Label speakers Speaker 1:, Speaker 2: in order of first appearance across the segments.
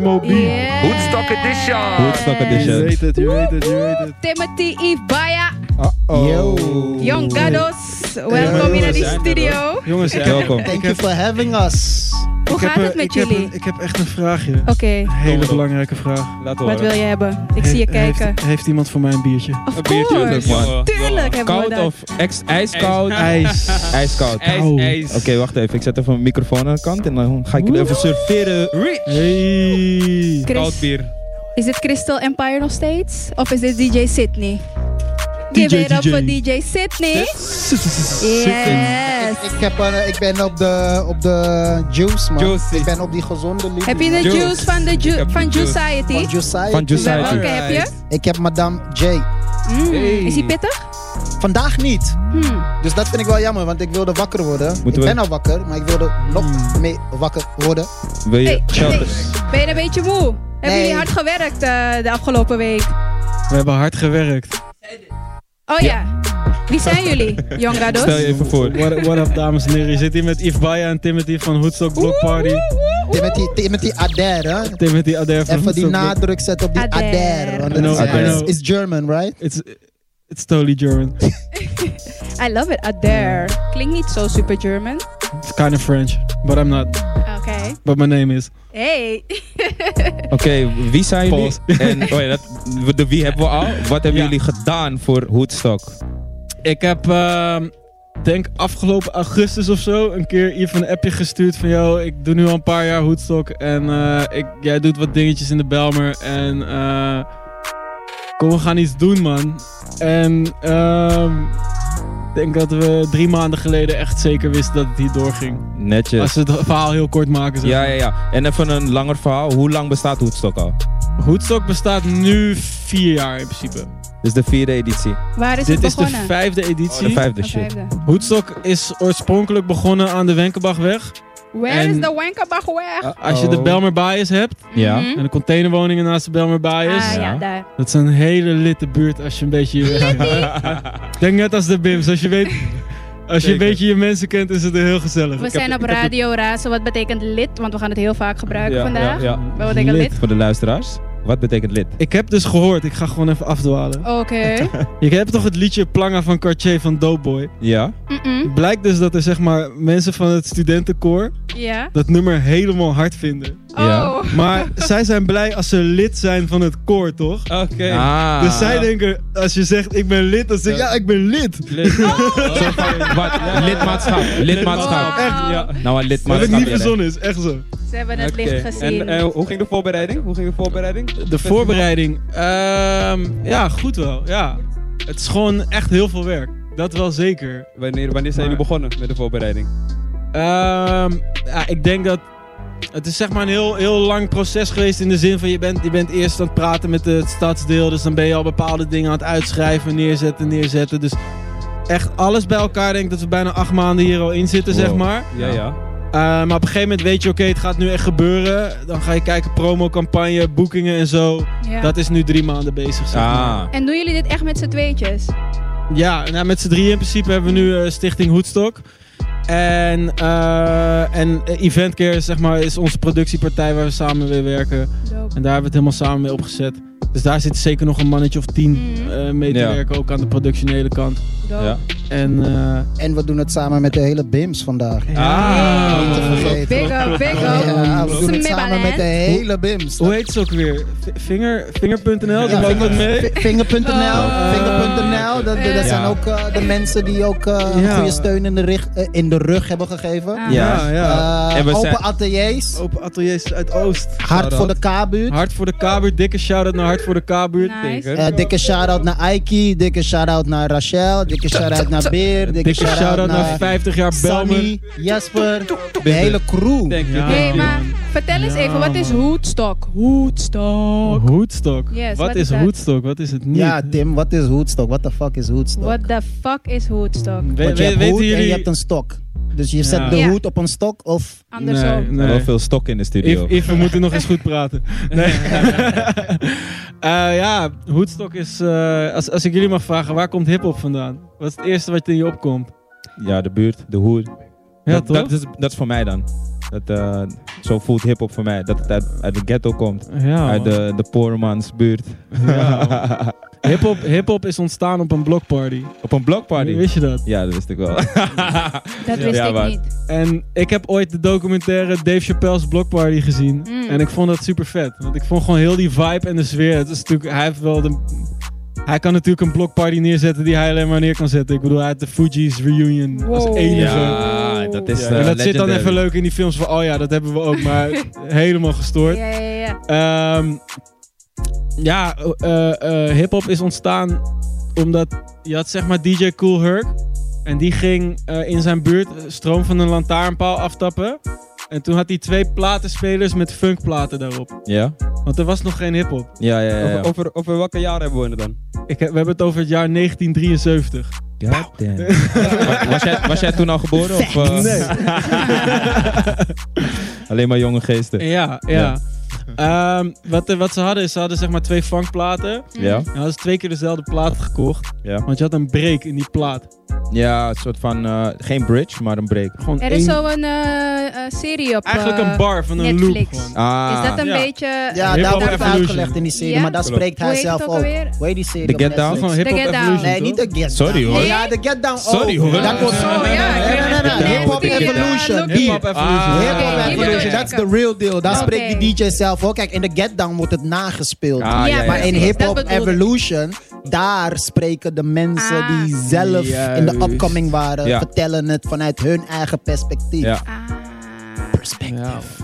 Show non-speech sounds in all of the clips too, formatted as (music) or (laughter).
Speaker 1: MOB.
Speaker 2: Yeah.
Speaker 3: Woodstock Edition.
Speaker 1: Woodstock
Speaker 4: Je
Speaker 1: Edition.
Speaker 4: weet het, je weet het, je weet het.
Speaker 2: Timothy Ibaya,
Speaker 1: Uh-oh.
Speaker 5: Yo.
Speaker 2: Young Gados. Welkom hier naar die
Speaker 4: jongens,
Speaker 2: studio.
Speaker 4: Jongens, ja,
Speaker 1: eh, Welkom.
Speaker 5: Thank you for having us.
Speaker 2: Hoe
Speaker 4: ik heb
Speaker 2: gaat
Speaker 4: een-
Speaker 2: het
Speaker 4: ik
Speaker 2: met
Speaker 4: heb
Speaker 2: jullie?
Speaker 4: een- Ik heb echt een vraagje.
Speaker 2: Oké,
Speaker 4: Een hele belangrijke vraag.
Speaker 6: Laat
Speaker 2: wat wil je hebben? Ik
Speaker 4: He-
Speaker 2: zie je
Speaker 4: heeft-
Speaker 2: kijken.
Speaker 4: Heeft iemand voor mij een biertje?
Speaker 2: Of
Speaker 6: Een biertje of
Speaker 2: course.
Speaker 6: zo, man.
Speaker 2: Tuurlijk hebben we
Speaker 6: Koud
Speaker 2: dat.
Speaker 6: of ex ijskoud?
Speaker 4: IJs.
Speaker 1: Ijskoud.
Speaker 6: IJs,
Speaker 4: Koud.
Speaker 6: ijs.
Speaker 1: Oké, wacht even. Ik zet even mijn microfoon aan de kant en dan ga ik jullie even surferen.
Speaker 4: Hey.
Speaker 2: Chris-
Speaker 6: Koud bier.
Speaker 2: Is dit Crystal Empire nog steeds? Of is dit DJ Sydney?
Speaker 4: DJ,
Speaker 2: Give it up
Speaker 4: DJ.
Speaker 2: for DJ Sydney. Yes.
Speaker 5: Ik, ik, heb, een- ik ben op de, op de juice, man.
Speaker 6: Juicy.
Speaker 5: Ik ben op die gezonde liefde.
Speaker 2: Heb je de
Speaker 6: Juice.
Speaker 2: juice van, de ju
Speaker 6: Ik heb de
Speaker 2: van
Speaker 6: juice.
Speaker 2: Juiciety?
Speaker 5: Van Josiah.
Speaker 1: Van Juicy.
Speaker 2: Welke heb je?
Speaker 5: Ik heb Madame J.
Speaker 2: Mm,
Speaker 6: Hey.
Speaker 2: Is die pittig?
Speaker 5: Vandaag niet.
Speaker 2: Hmm.
Speaker 5: Dus dat vind ik wel jammer, want ik wilde wakker worden.
Speaker 1: Moeten
Speaker 5: ik
Speaker 1: we-
Speaker 5: ben al wakker, maar ik wilde nog meer wakker worden.
Speaker 1: Wil je
Speaker 2: Hey,
Speaker 1: geld?
Speaker 2: Ben je een beetje moe? Hebben
Speaker 5: Nee.
Speaker 2: jullie hard gewerkt eh, de afgelopen week?
Speaker 4: We hebben hard gewerkt.
Speaker 2: Oh ja. Wie zijn jullie, Young Rados?
Speaker 1: Stel je even voor.
Speaker 4: What, what up, dames en heren. Je zit hier met Yves Baya en Timothy van Hoedstock Block Party.
Speaker 5: Timothy, Timothy Adair, hè?
Speaker 4: Timothy Adair van
Speaker 5: Even die
Speaker 4: Hoedstock Block-
Speaker 5: nadruk zetten op die
Speaker 2: Adair.
Speaker 5: Adair. Want
Speaker 4: I know,
Speaker 5: het is-
Speaker 1: I
Speaker 5: het
Speaker 4: know.
Speaker 5: is it's German, right?
Speaker 4: It's, it's totally German.
Speaker 2: I love it, Adair. Klinkt niet zo super German.
Speaker 4: It's kind of French, but I'm not.
Speaker 2: Oké.
Speaker 4: But my name is.
Speaker 2: Hey. (laughs)
Speaker 1: Oké, wie zijn jullie?
Speaker 4: Pause.
Speaker 1: En oh ja, dat, de wie hebben we al? Wat
Speaker 4: Ja.
Speaker 1: hebben jullie gedaan voor Woodstock?
Speaker 4: Ik heb, ehm, denk afgelopen augustus of zo, een keer even een appje gestuurd van... ...yo, ik doe nu al een paar jaar hoedstok en eh, ik, jij doet wat dingetjes in de Belmer en... eh, kom, we gaan iets doen, man. En ehm, ik denk dat we drie maanden geleden echt zeker wisten dat het hier doorging. Als
Speaker 1: Netjes.
Speaker 4: we het verhaal heel kort maken. Zeg.
Speaker 1: Ja, ja, ja. En even een langer verhaal. Hoe lang bestaat Woodstock al?
Speaker 4: Hoedstok bestaat nu vier jaar in principe.
Speaker 1: Dit is de vierde editie.
Speaker 2: Waar is
Speaker 4: Dit
Speaker 2: het
Speaker 4: is de
Speaker 2: begonnen?
Speaker 4: vijfde
Speaker 1: Oh,
Speaker 4: editie.
Speaker 1: de vijfde
Speaker 2: De
Speaker 1: shit.
Speaker 2: vijfde.
Speaker 4: Hoedstok is oorspronkelijk begonnen aan de Wenkenbachweg.
Speaker 2: Where
Speaker 4: En-
Speaker 2: is the Wankerbachweg?
Speaker 1: Ah,
Speaker 4: Als je
Speaker 1: Oh.
Speaker 4: de Belmer Bias hebt...
Speaker 1: Ja.
Speaker 2: Mhm.
Speaker 4: En de containerwoningen naast de Belmer Bias.
Speaker 2: Ah, ja,
Speaker 1: Ja.
Speaker 2: daar.
Speaker 4: Dat is een hele litte buurt als je een beetje... Denk net als de Bims. Als je, weet, als je een
Speaker 1: Zeker.
Speaker 4: beetje je mensen kent, is het heel gezellig.
Speaker 2: We zijn op Radio Razen, wat betekent lid, want we gaan het heel vaak gebruiken
Speaker 1: Ja,
Speaker 2: vandaag.
Speaker 1: ja, ja.
Speaker 2: Wat betekent lid?
Speaker 1: Voor de luisteraars. Wat betekent lid?
Speaker 4: Ik heb dus gehoord, ik ga gewoon even afdwalen.
Speaker 2: Oké.
Speaker 4: Je hebt toch het liedje Planga van Cartier van Doughboy?
Speaker 1: Ja.
Speaker 2: Mm-mm.
Speaker 4: Blijkt dus dat er zeg maar mensen van het studentenkoor
Speaker 2: Ja.
Speaker 4: dat nummer helemaal hard vinden.
Speaker 1: Ja.
Speaker 2: Oh.
Speaker 4: Maar zij zijn blij als ze lid zijn van het koor, toch?
Speaker 6: Oké.
Speaker 1: Ah.
Speaker 4: Dus zij denken, als je zegt ik ben lid, dan zeg je ja, ik ben lid.
Speaker 1: Lid. Zo van, wat?
Speaker 4: Oh.
Speaker 1: Lidmaatschap. Lidmaatschap.
Speaker 2: Lidmaatschap. Echt, ja.
Speaker 1: Nou, een
Speaker 4: Dat
Speaker 1: lidmaatschap.
Speaker 4: heb ik niet
Speaker 1: ja, nee.
Speaker 4: verzonnen, is echt zo.
Speaker 2: Ze hebben het
Speaker 6: Oké.
Speaker 2: licht gezien.
Speaker 6: En eh, hoe ging de voorbereiding? Hoe ging de voorbereiding?
Speaker 4: De voorbereiding. ehm, ja, goed wel. Ja. Het is gewoon echt heel veel werk. Dat wel zeker.
Speaker 6: Wanneer, wanneer zijn jullie begonnen met de voorbereiding?
Speaker 4: Ehm, ja, ik denk dat. Het is zeg maar een heel, heel lang proces geweest in de zin van je bent, je bent eerst aan het praten met het stadsdeel. Dus dan ben je al bepaalde dingen aan het uitschrijven, neerzetten, neerzetten. Dus echt alles bij elkaar denk ik dat we bijna acht maanden hier al in zitten, zeg
Speaker 1: Wow.
Speaker 4: maar.
Speaker 6: Ja, ja.
Speaker 4: Eh, maar op een gegeven moment weet je, oké, het gaat nu echt gebeuren. Dan ga je kijken, promocampagne, boekingen en zo.
Speaker 2: Ja.
Speaker 4: Dat is nu drie maanden bezig, zeg maar.
Speaker 1: Ah.
Speaker 2: En doen jullie dit echt met z'n tweetjes?
Speaker 4: Ja, nou, met z'n drieën in principe hebben we nu eh, Stichting Hoedstok. En, eh en Eventcare zeg maar, is onze productiepartij waar we samen mee werken.
Speaker 2: Dope.
Speaker 4: En daar hebben we het helemaal samen mee opgezet. Dus daar zit zeker nog een mannetje of tien
Speaker 2: Mhm.
Speaker 4: eh, mee te
Speaker 1: Ja.
Speaker 4: werken, ook aan de productionele kant.
Speaker 2: Dope.
Speaker 1: Ja.
Speaker 4: En eh,
Speaker 5: En we doen het samen met de hele BIMS
Speaker 4: Oh,
Speaker 5: vandaag. Niet te
Speaker 1: Ah.
Speaker 5: vergeten.
Speaker 2: Big up, big up.
Speaker 5: Ja, we doen het samen
Speaker 2: Smibbaland.
Speaker 5: met de hele BIMS.
Speaker 4: hoe heet ze ook weer? V- Vinger, vinger.nl, die
Speaker 5: Ja,
Speaker 4: loopt wat mee.
Speaker 5: Vinger.nl,
Speaker 2: Oh.
Speaker 5: Vinger.nl, dat, dat
Speaker 2: Ja.
Speaker 5: zijn ook eh, de mensen die ook eh, een
Speaker 4: Ja.
Speaker 5: goede steun in de, richt- eh, in de rug hebben gegeven.
Speaker 2: Ah.
Speaker 1: Ja.
Speaker 4: Ja, ja.
Speaker 5: Eh,
Speaker 1: En we
Speaker 5: open
Speaker 1: zijn-
Speaker 5: ateliers,
Speaker 4: Open ateliers uit Oost.
Speaker 5: hard voor de K-buurt.
Speaker 4: Hard voor de K-buurt, dikke shout-out naar Hard voor de K-buurt.
Speaker 2: Nice.
Speaker 5: Eh, dikke shout-out naar Aiki, dikke shout-out naar Rachel, dikke shout-out naar Beer, dikke,
Speaker 4: Dikke shout-out naar 50 jaar Belmer.
Speaker 5: Sunny, Jasper, de hele crew.
Speaker 6: Denk je.
Speaker 4: Ja.
Speaker 2: hey,
Speaker 4: man.
Speaker 2: maar vertel eens
Speaker 4: Ja,
Speaker 2: even, wat is
Speaker 4: man.
Speaker 2: Hoedstok? Hoedstok.
Speaker 4: Hoedstok.
Speaker 2: Yes,
Speaker 4: wat
Speaker 2: wat
Speaker 4: is
Speaker 2: is dat?
Speaker 4: hoedstok? Wat is het niet?
Speaker 5: Ja, Tim, wat is Hoedstok? What the fuck is Hoedstok?
Speaker 2: What the fuck is Hoedstok?
Speaker 4: We-
Speaker 5: Want je
Speaker 4: we-
Speaker 5: hebt
Speaker 4: weten
Speaker 5: hoed en
Speaker 4: jullie-
Speaker 5: je hebt een stok. Dus je zet
Speaker 4: Ja.
Speaker 5: de
Speaker 2: Ja.
Speaker 5: hoed op een stok of...
Speaker 2: Andersom.
Speaker 4: Nee, nee.
Speaker 1: Wel veel stok in de studio.
Speaker 4: If, if we moeten nog eens goed
Speaker 5: (laughs)
Speaker 4: praten. Nee. (laughs) Eh, ja, Hoedstok is... eh, als, als ik jullie mag vragen, waar komt hiphop vandaan? Wat is het eerste wat in je opkomt?
Speaker 1: Ja, de buurt, de hoer.
Speaker 4: Ja,
Speaker 1: dat,
Speaker 4: toch?
Speaker 1: Dat is, dat is voor mij dan. Dat, eh, zo voelt hip-hop voor mij. Dat het uit, uit de ghetto komt.
Speaker 4: ja,
Speaker 1: uit
Speaker 4: man.
Speaker 1: de, de poormansbuurt.
Speaker 4: Ja, Hiphop hiphop is ontstaan op een blockparty.
Speaker 1: Op een blockparty.
Speaker 4: Wist je dat?
Speaker 1: (laughs) Ja, dat wist ik wel.
Speaker 2: Dat wist
Speaker 1: Ja,
Speaker 2: ik
Speaker 1: maar-
Speaker 2: niet.
Speaker 4: En ik heb ooit de documentaire Dave Chappelle's Block Party gezien.
Speaker 2: Mm.
Speaker 4: En ik vond dat super vet. Want ik vond gewoon heel die vibe en de sfeer. Het is natuurlijk, hij, heeft wel de, hij kan natuurlijk een Block Party neerzetten die hij alleen maar neer kan zetten. Ik bedoel, hij had de Fuji's Reunion als
Speaker 2: Wow.
Speaker 4: enige.
Speaker 1: ja, dat is.
Speaker 4: en
Speaker 1: eh,
Speaker 4: dat zit dan
Speaker 1: legendary.
Speaker 4: even leuk in die films van, oh ja, dat hebben we ook,
Speaker 2: (laughs)
Speaker 4: maar helemaal gestoord.
Speaker 2: Ja, ja, ja.
Speaker 4: Ehm, ja, eh, eh, hip-hop is ontstaan omdat je had zeg maar DJ Cool Herc. En die ging eh, in zijn buurt stroom van een lantaarnpaal aftappen. En toen had hij twee platenspelers met funkplaten daarop.
Speaker 1: Ja,
Speaker 4: Want er was nog geen hip-hop.
Speaker 1: ja, ja. ja, ja.
Speaker 6: Over, over, over welke jaren hebben we het dan?
Speaker 4: Ik heb- We hebben het over het jaar 1973.
Speaker 1: God (laughs) damn. was, was jij, was jij toen al geboren? Of, eh, (laughs) Alleen maar jonge geesten.
Speaker 4: Eh, Ja, ja. Ehm, wat, er- wat ze hadden is, ze hadden zeg maar twee funkplaten.
Speaker 1: Ja,
Speaker 4: En hadden ze twee keer dezelfde plaat gekocht.
Speaker 1: ja.
Speaker 4: Want je had een break in die plaat.
Speaker 1: Ja, een soort van. eh, geen bridge, maar een break.
Speaker 4: Gewoon
Speaker 2: Er is
Speaker 4: één-
Speaker 2: zo'n eh, eh, serie op
Speaker 4: Eigenlijk
Speaker 2: eh,
Speaker 4: een bar van een loop
Speaker 2: Netflix.
Speaker 4: gewoon.
Speaker 1: Ah,
Speaker 2: Is dat een
Speaker 4: Ja.
Speaker 2: beetje... eh,
Speaker 5: Ja,
Speaker 4: Hip
Speaker 5: daar
Speaker 4: Hop
Speaker 5: wordt het
Speaker 4: Evolution.
Speaker 5: uitgelegd in die serie,
Speaker 2: Ja?
Speaker 5: maar daar
Speaker 1: Klopt.
Speaker 5: spreekt
Speaker 2: Hoe
Speaker 5: hij
Speaker 2: heet het
Speaker 5: zelf
Speaker 2: ook
Speaker 5: ook.
Speaker 2: alweer?
Speaker 5: Hoe heet die serie?
Speaker 1: The
Speaker 5: op
Speaker 1: Get Down?
Speaker 5: Netflix?
Speaker 4: Gewoon Hip Hop
Speaker 2: Get Down.
Speaker 4: Evolution.
Speaker 5: Nee, niet
Speaker 4: toch?
Speaker 5: de Get
Speaker 1: Sorry,
Speaker 5: Down.
Speaker 1: hoor.
Speaker 5: Ja, de Get Down. ook.
Speaker 1: Sorry, hoor.
Speaker 5: Dat wordt...
Speaker 2: Zo, Oh, ja. ik
Speaker 5: Nee, nee, nee,
Speaker 2: kreeg
Speaker 5: nee, Hip Hop
Speaker 2: die, eh,
Speaker 5: Evolution.
Speaker 2: look.
Speaker 5: Die.
Speaker 4: Hip-hop evolution.
Speaker 1: Ah,
Speaker 5: Hip Hop
Speaker 2: Oké, die bedoel
Speaker 5: Evolution,
Speaker 2: ik.
Speaker 5: that's the real deal. Daar
Speaker 2: Oké.
Speaker 5: spreekt die DJ zelf ook. Kijk, in de Get Down wordt het nagespeeld.
Speaker 1: Ah, ja, ja,
Speaker 5: Maar in
Speaker 2: precies,
Speaker 5: Hip
Speaker 2: dat
Speaker 5: Hop
Speaker 2: bedoel ik.
Speaker 5: Evolution, daar spreken de mensen
Speaker 2: Ah.
Speaker 5: die zelf in de
Speaker 4: Juist.
Speaker 5: opkoming waren,
Speaker 1: Ja.
Speaker 5: vertellen het vanuit hun eigen perspectief.
Speaker 1: Ja.
Speaker 2: Ah,
Speaker 5: Perspectief.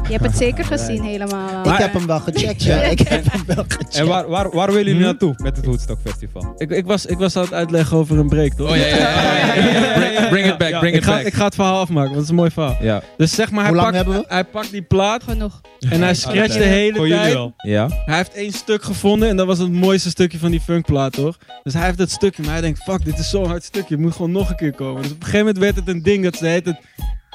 Speaker 2: je hebt het
Speaker 5: (laughs)
Speaker 2: zeker gezien helemaal. eh,
Speaker 5: Ik heb hem wel gecheckt, ja. Ik heb hem wel gecheckt.
Speaker 6: En waar, waar, waar willen jullie
Speaker 4: Hm?
Speaker 6: naartoe met het Woodstock Festival?
Speaker 4: Ik, ik, was, ik was aan het uitleggen over een break, toch?
Speaker 1: Oh, ja, ja, ja, ja, ja. (laughs) Bring- bring it back,
Speaker 4: Ja, (laughs)
Speaker 1: bring
Speaker 4: ik
Speaker 1: it
Speaker 4: ga,
Speaker 1: back.
Speaker 4: Ik ga het verhaal afmaken, want het is een mooi verhaal.
Speaker 1: Ja,
Speaker 4: Dus zeg maar, hij
Speaker 5: Hoe lang
Speaker 4: pakt,
Speaker 5: hebben we?
Speaker 4: hij pakt die plaat
Speaker 2: genoeg.
Speaker 4: en hij scratcht de hele
Speaker 6: Voor jullie
Speaker 4: tijd.
Speaker 6: wel.
Speaker 1: ja.
Speaker 4: Hij heeft één stuk gevonden en dat was het mooiste stukje van die funkplaat, toch? Dus hij heeft dat stukje, maar hij denkt, fuck, dit is zo'n hard stukje, het moet gewoon nog een keer komen. Dus op een gegeven moment werd het een ding dat ze de hele tijd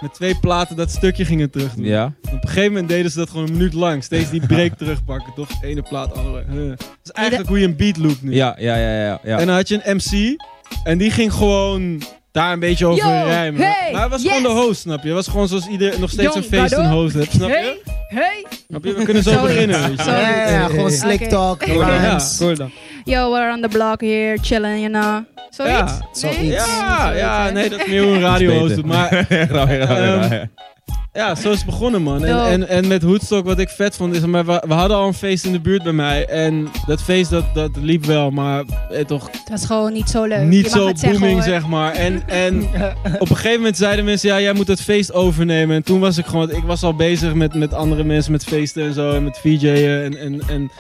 Speaker 4: met twee platen dat stukje gingen terug doen.
Speaker 1: Ja.
Speaker 4: Op een gegeven moment deden ze dat gewoon een minuut lang. Steeds die break (laughs) terugpakken, toch? Ene plaat, andere. Huh. Dat is eigenlijk hoe je een beat loopt nu.
Speaker 1: Ja, ja, ja, ja. (laughs) ja.
Speaker 4: En dan had je een MC. En die ging gewoon daar een beetje over
Speaker 2: Yo,
Speaker 4: rijmen.
Speaker 2: hey,
Speaker 4: maar hij was
Speaker 2: yes.
Speaker 4: gewoon de host, snap je? Hij was gewoon zoals ieder nog steeds
Speaker 2: Jong,
Speaker 4: een feest een
Speaker 2: daardoor.
Speaker 4: host hebt, snap je?
Speaker 2: Hey, hey.
Speaker 4: Snap je? We kunnen zo
Speaker 2: Sorry.
Speaker 4: beginnen. weet je.
Speaker 2: Sorry.
Speaker 5: Ja, ja, ja, gewoon slick
Speaker 2: Oké.
Speaker 5: talk,
Speaker 4: Ja,
Speaker 5: rhymes.
Speaker 4: cool dan.
Speaker 2: Yo, we're on the block here, chilling, you know. Zoiets?
Speaker 4: Ja,
Speaker 5: zoiets.
Speaker 2: Nee?
Speaker 4: Ja,
Speaker 2: Zoiets,
Speaker 4: ja,
Speaker 2: hè?
Speaker 4: nee, dat is meer hoe een
Speaker 1: Dat
Speaker 4: radiohost
Speaker 1: is
Speaker 4: doet.
Speaker 1: beter.
Speaker 4: Maar
Speaker 1: Raar, raar, raar.
Speaker 4: ja, zo is het begonnen, man. En,
Speaker 2: Dope.
Speaker 4: en, en met Hoedstok, wat ik vet vond, is... maar We, we hadden al een feest in de buurt bij mij. En dat feest, dat, dat liep wel, maar eh, toch
Speaker 2: Het was gewoon niet zo leuk.
Speaker 4: Niet
Speaker 2: Eh, Je mag
Speaker 4: zo
Speaker 2: het zeggen,
Speaker 4: booming,
Speaker 2: hoor.
Speaker 4: zeg maar.
Speaker 2: (laughs)
Speaker 4: En, en op een gegeven moment zeiden mensen, ja, jij moet het feest overnemen. En toen was ik gewoon, ik was al bezig met, met andere mensen, met feesten en zo. En met VJ'en en, en, en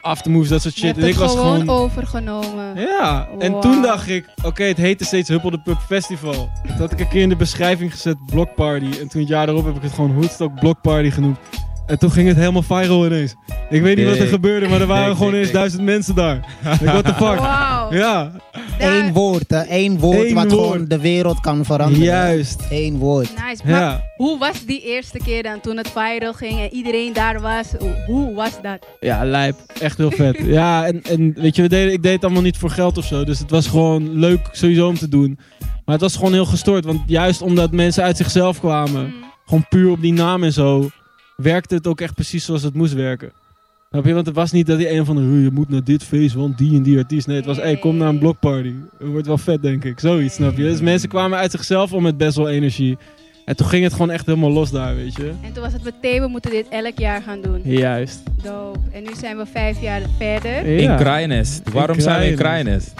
Speaker 4: aftermoves, dat soort
Speaker 2: Je
Speaker 4: shit.
Speaker 2: hebt
Speaker 4: En ik
Speaker 2: het
Speaker 4: was
Speaker 2: gewoon,
Speaker 4: gewoon...
Speaker 2: overgenomen.
Speaker 4: Ja, en
Speaker 2: Oh. Wow.
Speaker 4: toen dacht ik, oké, het heette steeds Huppel de Pub Festival. Dat had ik een keer in de beschrijving gezet, Block Party. En toen het jaar daarop heb ik het gewoon Hoedstock Block Party genoemd. En toen ging het helemaal viral ineens. Ik weet niet wat er
Speaker 1: Dik.
Speaker 4: gebeurde, maar er waren
Speaker 1: Dik,
Speaker 4: gewoon
Speaker 1: dik,
Speaker 4: eens
Speaker 1: dik.
Speaker 4: duizend mensen daar. Like, what the
Speaker 2: (laughs)
Speaker 4: fuck?
Speaker 2: Wauw.
Speaker 4: Ja,
Speaker 2: Daar-
Speaker 5: Eén woord, hè. Eén woord
Speaker 4: Eén
Speaker 5: wat
Speaker 4: woord.
Speaker 5: gewoon de wereld kan veranderen.
Speaker 4: juist.
Speaker 5: Eén woord.
Speaker 2: Nice. Maar
Speaker 4: Ja.
Speaker 2: hoe was die eerste keer dan toen het viral ging en iedereen daar was? Hoe- Hoe was dat?
Speaker 4: Ja, lijp. Echt heel
Speaker 2: (laughs)
Speaker 4: vet. ja, en, en weet je, we deden, ik deed het allemaal niet voor geld of zo. Dus het was gewoon leuk sowieso om te doen. Maar het was gewoon heel gestoord. Want juist omdat mensen uit zichzelf kwamen,
Speaker 2: Mm.
Speaker 4: gewoon puur op die naam en zo, werkte het ook echt precies zoals het moest werken. Snap je? Want het was niet dat die een van de, "Huh, je moet naar dit feest, want die en die artiest. Nee, het was, hé, hey, kom naar een blockparty. Het wordt wel vet, denk ik. Zoiets, snap je? Dus mensen kwamen uit zichzelf om met best wel energie. En toen ging het gewoon echt helemaal los daar, weet je?
Speaker 2: En toen was het meteen, we moeten dit elk jaar gaan doen.
Speaker 4: Juist.
Speaker 2: Dope. En nu zijn we vijf jaar verder.
Speaker 1: In Kraaienest. Waarom zijn we in Kraaienest?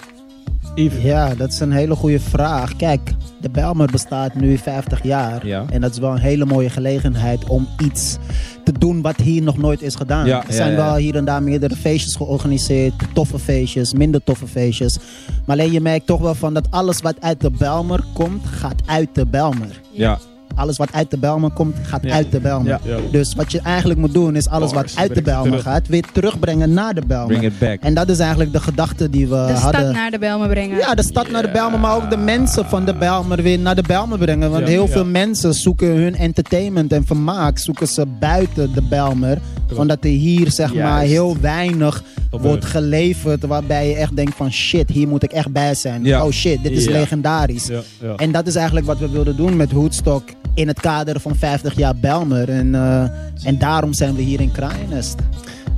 Speaker 4: Even.
Speaker 5: Ja, dat is een hele goede vraag. Kijk, de Belmer bestaat nu 50 jaar.
Speaker 1: Ja.
Speaker 5: En dat is wel een hele mooie gelegenheid om iets te doen wat hier nog nooit is gedaan.
Speaker 1: Ja,
Speaker 5: er zijn
Speaker 1: ja, ja.
Speaker 5: wel hier en daar meerdere feestjes georganiseerd. Toffe feestjes, minder toffe feestjes. Maar alleen je merkt toch wel van dat alles wat uit de Belmer komt, gaat uit de Belmer.
Speaker 1: Ja.
Speaker 5: alles wat uit de Belmen komt, gaat
Speaker 4: Ja.
Speaker 5: uit de Belmen.
Speaker 4: Ja.
Speaker 1: Ja.
Speaker 5: Dus wat je eigenlijk moet doen, is alles wat
Speaker 4: Bars,
Speaker 5: uit de
Speaker 4: breng het
Speaker 5: Belmen
Speaker 4: terug.
Speaker 5: gaat, weer terugbrengen naar de
Speaker 1: Bring
Speaker 5: Belmen.
Speaker 1: it back.
Speaker 5: En dat is eigenlijk de gedachte die we
Speaker 2: de
Speaker 5: hadden.
Speaker 2: stad naar de Belmen brengen.
Speaker 5: Ja, de stad naar de Bijlmer, maar ook de mensen van de Bijlmer weer naar de Bijlmer brengen. Want
Speaker 4: Ja.
Speaker 5: heel
Speaker 4: Ja.
Speaker 5: veel mensen zoeken hun entertainment en vermaak zoeken ze buiten de Bijlmer. Omdat er hier zeg maar
Speaker 4: Juist.
Speaker 5: heel weinig
Speaker 1: Gebeurt.
Speaker 5: wordt geleverd waarbij je echt denkt van shit, hier moet ik echt bij zijn.
Speaker 1: Ja.
Speaker 5: Oh shit, dit is
Speaker 4: Ja.
Speaker 5: legendarisch.
Speaker 1: Ja, ja.
Speaker 5: En dat is eigenlijk wat we wilden doen met Hoedstok in het kader van 50 jaar Bijlmer. En, eh, en daarom zijn we hier in Kraaienest.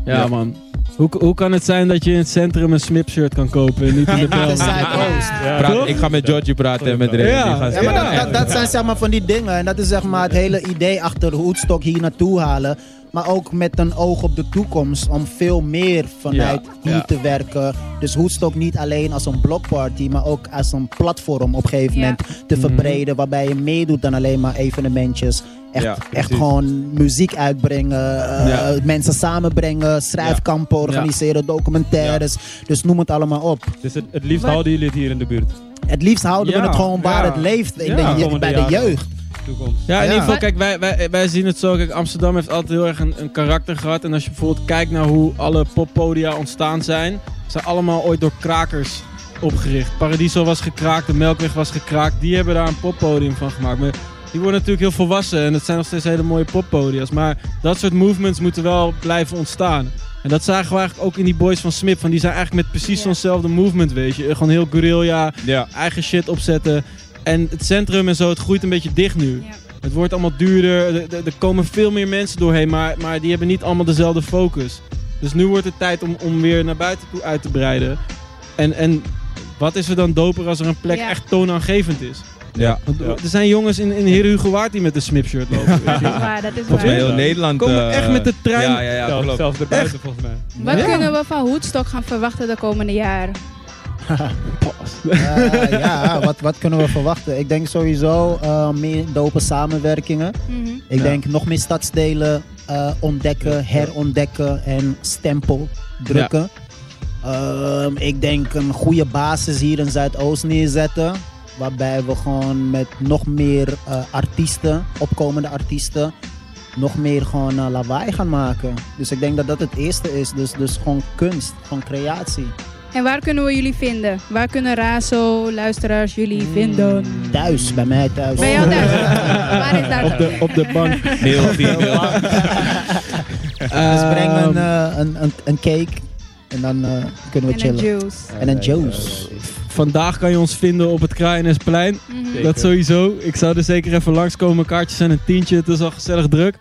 Speaker 4: Ja, man. Hoe, hoe kan het zijn dat je in het centrum een Smip-shirt kan kopen en niet in de (laughs)
Speaker 5: En de
Speaker 4: Belmen?
Speaker 5: Zuidoost.
Speaker 1: Praat-
Speaker 4: toch?
Speaker 1: ik ga met Georgie praten en met Ray.
Speaker 4: Ja.
Speaker 1: Die gaan
Speaker 5: Ja,
Speaker 1: zitten.
Speaker 5: maar dat, dat, dat zijn zeg maar van die dingen. En dat is zeg maar het hele idee achter Hoedstok hier naartoe halen. Maar ook met een oog op de toekomst. Om veel meer vanuit
Speaker 4: Ja,
Speaker 5: hier
Speaker 4: ja.
Speaker 5: te werken. Dus Hoedstok niet alleen als een blokparty. Maar ook als een platform op een gegeven
Speaker 2: Ja.
Speaker 5: moment te verbreden. Waarbij je meedoet dan alleen maar evenementjes. Echt,
Speaker 1: Ja,
Speaker 5: echt
Speaker 1: precies.
Speaker 5: gewoon muziek uitbrengen. eh,
Speaker 4: Ja.
Speaker 5: Mensen samenbrengen. Schrijfkampen organiseren. Documentaires. Dus noem het allemaal op.
Speaker 6: Dus het, het liefst
Speaker 2: Maar-
Speaker 6: houden jullie het hier in de buurt.
Speaker 5: Het liefst houden
Speaker 6: Ja,
Speaker 5: we het gewoon waar
Speaker 6: ja.
Speaker 5: het leeft. In
Speaker 6: Ja,
Speaker 5: de, je-
Speaker 6: komende
Speaker 5: bij de
Speaker 6: jaren.
Speaker 5: jeugd.
Speaker 6: Toekomst.
Speaker 4: Ja, in
Speaker 5: Ja.
Speaker 4: ieder geval, kijk, wij, wij, wij zien het zo. Kijk, Amsterdam heeft altijd heel erg een, een karakter gehad. En als je bijvoorbeeld kijkt naar hoe alle poppodia ontstaan zijn, zijn allemaal ooit door krakers opgericht. Paradiso was gekraakt, de Melkweg was gekraakt. Die hebben daar een poppodium van gemaakt. Maar die worden natuurlijk heel volwassen en dat zijn nog steeds hele mooie poppodia's. Maar dat soort movements moeten wel blijven ontstaan. En dat zagen we eigenlijk ook in die boys van Smip. Van die zijn eigenlijk met precies
Speaker 2: Ja.
Speaker 4: zo'nzelfde movement, weet je. Gewoon heel guerrilla,
Speaker 1: Ja.
Speaker 4: eigen shit opzetten. En het centrum en zo, het groeit een beetje dicht nu.
Speaker 2: Ja.
Speaker 4: Het wordt allemaal duurder, er- er- er komen veel meer mensen doorheen, maar, maar die hebben niet allemaal dezelfde focus. Dus nu wordt het tijd om, om weer naar buiten toe uit te breiden. En, en wat is er dan doper als er een plek
Speaker 2: Ja.
Speaker 4: echt toonaangevend is?
Speaker 1: Ja.
Speaker 4: Want Er zijn jongens in, in Heer Hugo Waard die met een snipshirt lopen. weet
Speaker 2: Dat is
Speaker 4: je.
Speaker 2: waar, dat is
Speaker 1: Volgens mij
Speaker 2: waar.
Speaker 1: heel Nederland.
Speaker 4: Komen
Speaker 1: eh,
Speaker 4: echt met de trein.
Speaker 1: Ja, ja, ja.
Speaker 6: Zelf-
Speaker 1: klopt.
Speaker 6: zelfs erbuiten volgens
Speaker 4: (laughs)
Speaker 6: mij.
Speaker 2: Wat
Speaker 4: Ja.
Speaker 2: kunnen we van Hoedstok gaan verwachten de komende jaar?
Speaker 5: Eh, ja, wat, wat kunnen we verwachten? Ik denk sowieso eh, meer dope samenwerkingen.
Speaker 2: Mhm.
Speaker 5: Ik denk nog meer stadsdelen eh, ontdekken, herontdekken en stempel drukken. Ehm, ik denk een goede basis hier in Zuidoost neerzetten. Waarbij we gewoon met nog meer eh, artiesten, opkomende artiesten, nog meer gewoon eh, lawaai gaan maken. Dus ik denk dat dat het eerste is. Dus, dus gewoon kunst, gewoon creatie.
Speaker 2: En waar kunnen we jullie vinden? Waar kunnen Razo, luisteraars jullie vinden?
Speaker 5: Thuis, bij mij thuis.
Speaker 2: Bij
Speaker 4: (laughs)
Speaker 2: jou thuis?
Speaker 5: (laughs)
Speaker 2: waar is daar?
Speaker 4: Op, de, op de bank.
Speaker 1: Heel
Speaker 4: (laughs)
Speaker 1: veel.
Speaker 5: Dus breng
Speaker 4: Ehm,
Speaker 5: een, eh, een, een, een cake en dan eh, kunnen we
Speaker 2: en een
Speaker 5: chillen.
Speaker 2: juice.
Speaker 5: En een juice.
Speaker 4: Vandaag kan je ons vinden op het Kraaienesplein.
Speaker 2: Mhm.
Speaker 6: Zeker.
Speaker 4: Dat sowieso. Ik zou er zeker even langskomen. Kaartjes en een tientje. Het is al gezellig druk.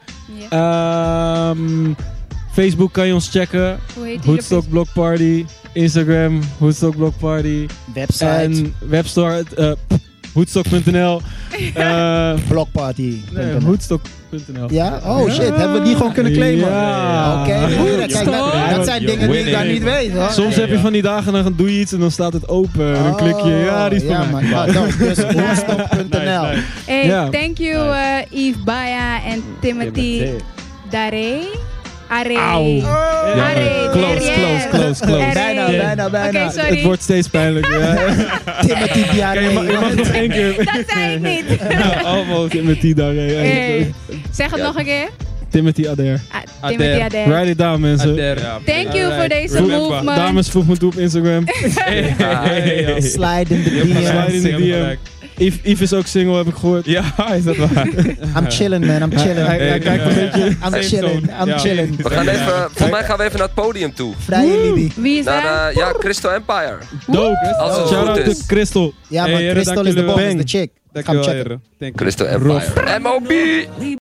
Speaker 2: Ja.
Speaker 4: Ehm, Facebook kan je ons checken.
Speaker 2: Hoe heet die?
Speaker 4: Hoedstock Block Party. Instagram, Hoedstock Block Party.
Speaker 5: Website,
Speaker 4: En webstore, eh, pff,
Speaker 2: (laughs)
Speaker 4: hoedstock.nl. Eh,
Speaker 5: blogparty.
Speaker 4: nee, hoedstock.nl.
Speaker 5: Ja? Oh shit,
Speaker 4: Ja.
Speaker 5: hebben we die gewoon kunnen claimen?
Speaker 4: Ja.
Speaker 5: Oké, broer, kijk, dat,
Speaker 2: Hoedstok.
Speaker 5: dat zijn dingen die ik daar niet weet hoor. Oh,
Speaker 4: Soms heb je van die dagen, dan doe je iets en dan staat het open. En dan klik je, ja, die is
Speaker 5: ja,
Speaker 4: van mij.
Speaker 5: maar- ja, dat-
Speaker 4: (laughs)
Speaker 5: Dus hoedstok.nl.
Speaker 2: Hey,
Speaker 4: Ja. Mm.
Speaker 2: thank you eh, Yves Baya en Timothy Dare. Are.
Speaker 4: Auw.
Speaker 2: Oh,
Speaker 4: (laughs)
Speaker 1: Ja,
Speaker 2: Are.
Speaker 4: Close, close, close, close.
Speaker 2: Are.
Speaker 5: Oh, Bijna, bijna,
Speaker 2: Oké,
Speaker 5: bijna.
Speaker 2: sorry.
Speaker 4: Het wordt steeds pijnlijker.
Speaker 2: (laughs)
Speaker 4: ja.
Speaker 5: Timothy Diarree.
Speaker 4: Je mag nog één keer.
Speaker 2: Dat zei ik
Speaker 4: (laughs)
Speaker 2: niet.
Speaker 4: Oh, Almost. Timothy Dare.
Speaker 2: (laughs) Hey, Zeg het nog een keer.
Speaker 4: Timothy Adair.
Speaker 2: Ah, Timothy
Speaker 5: Eh.
Speaker 2: Adair.
Speaker 4: Write it down, mensen.
Speaker 1: Ja,
Speaker 2: Thank you voor deze
Speaker 4: Voet-
Speaker 2: movement.
Speaker 4: Dames, voeg me toe op
Speaker 5: (laughs)
Speaker 4: Instagram.
Speaker 5: Slide in de
Speaker 4: Slide
Speaker 5: DM.
Speaker 4: in de DM. Yves, Yves is ook single, heb ik gehoord.
Speaker 1: (laughs) Ja, is dat waar?
Speaker 5: I'm chilling man, I'm
Speaker 4: Hij,
Speaker 5: chilling.
Speaker 4: hij kijkt een beetje.
Speaker 5: I'm chilling, I'm
Speaker 1: Ja.
Speaker 5: chilling.
Speaker 3: We gaan even, volgens mij gaan we even naar het podium toe.
Speaker 5: Vrije Libi.
Speaker 2: Wie is
Speaker 3: Naar,
Speaker 2: daar?
Speaker 3: eh, ja, Crystal Empire.
Speaker 4: Dope.
Speaker 3: Als het
Speaker 4: Shout
Speaker 3: goed
Speaker 4: out
Speaker 3: is.
Speaker 4: to Crystal.
Speaker 5: Ja,
Speaker 1: Hey,
Speaker 5: maar
Speaker 1: heren,
Speaker 5: Crystal
Speaker 1: dank
Speaker 5: is Eh, de
Speaker 1: jullie
Speaker 5: bom,
Speaker 1: wel.
Speaker 5: is de chick. Ga hem
Speaker 1: Dankjewel,
Speaker 5: checken.
Speaker 1: heren. Thank you.
Speaker 3: Crystal Empire. M.O.B.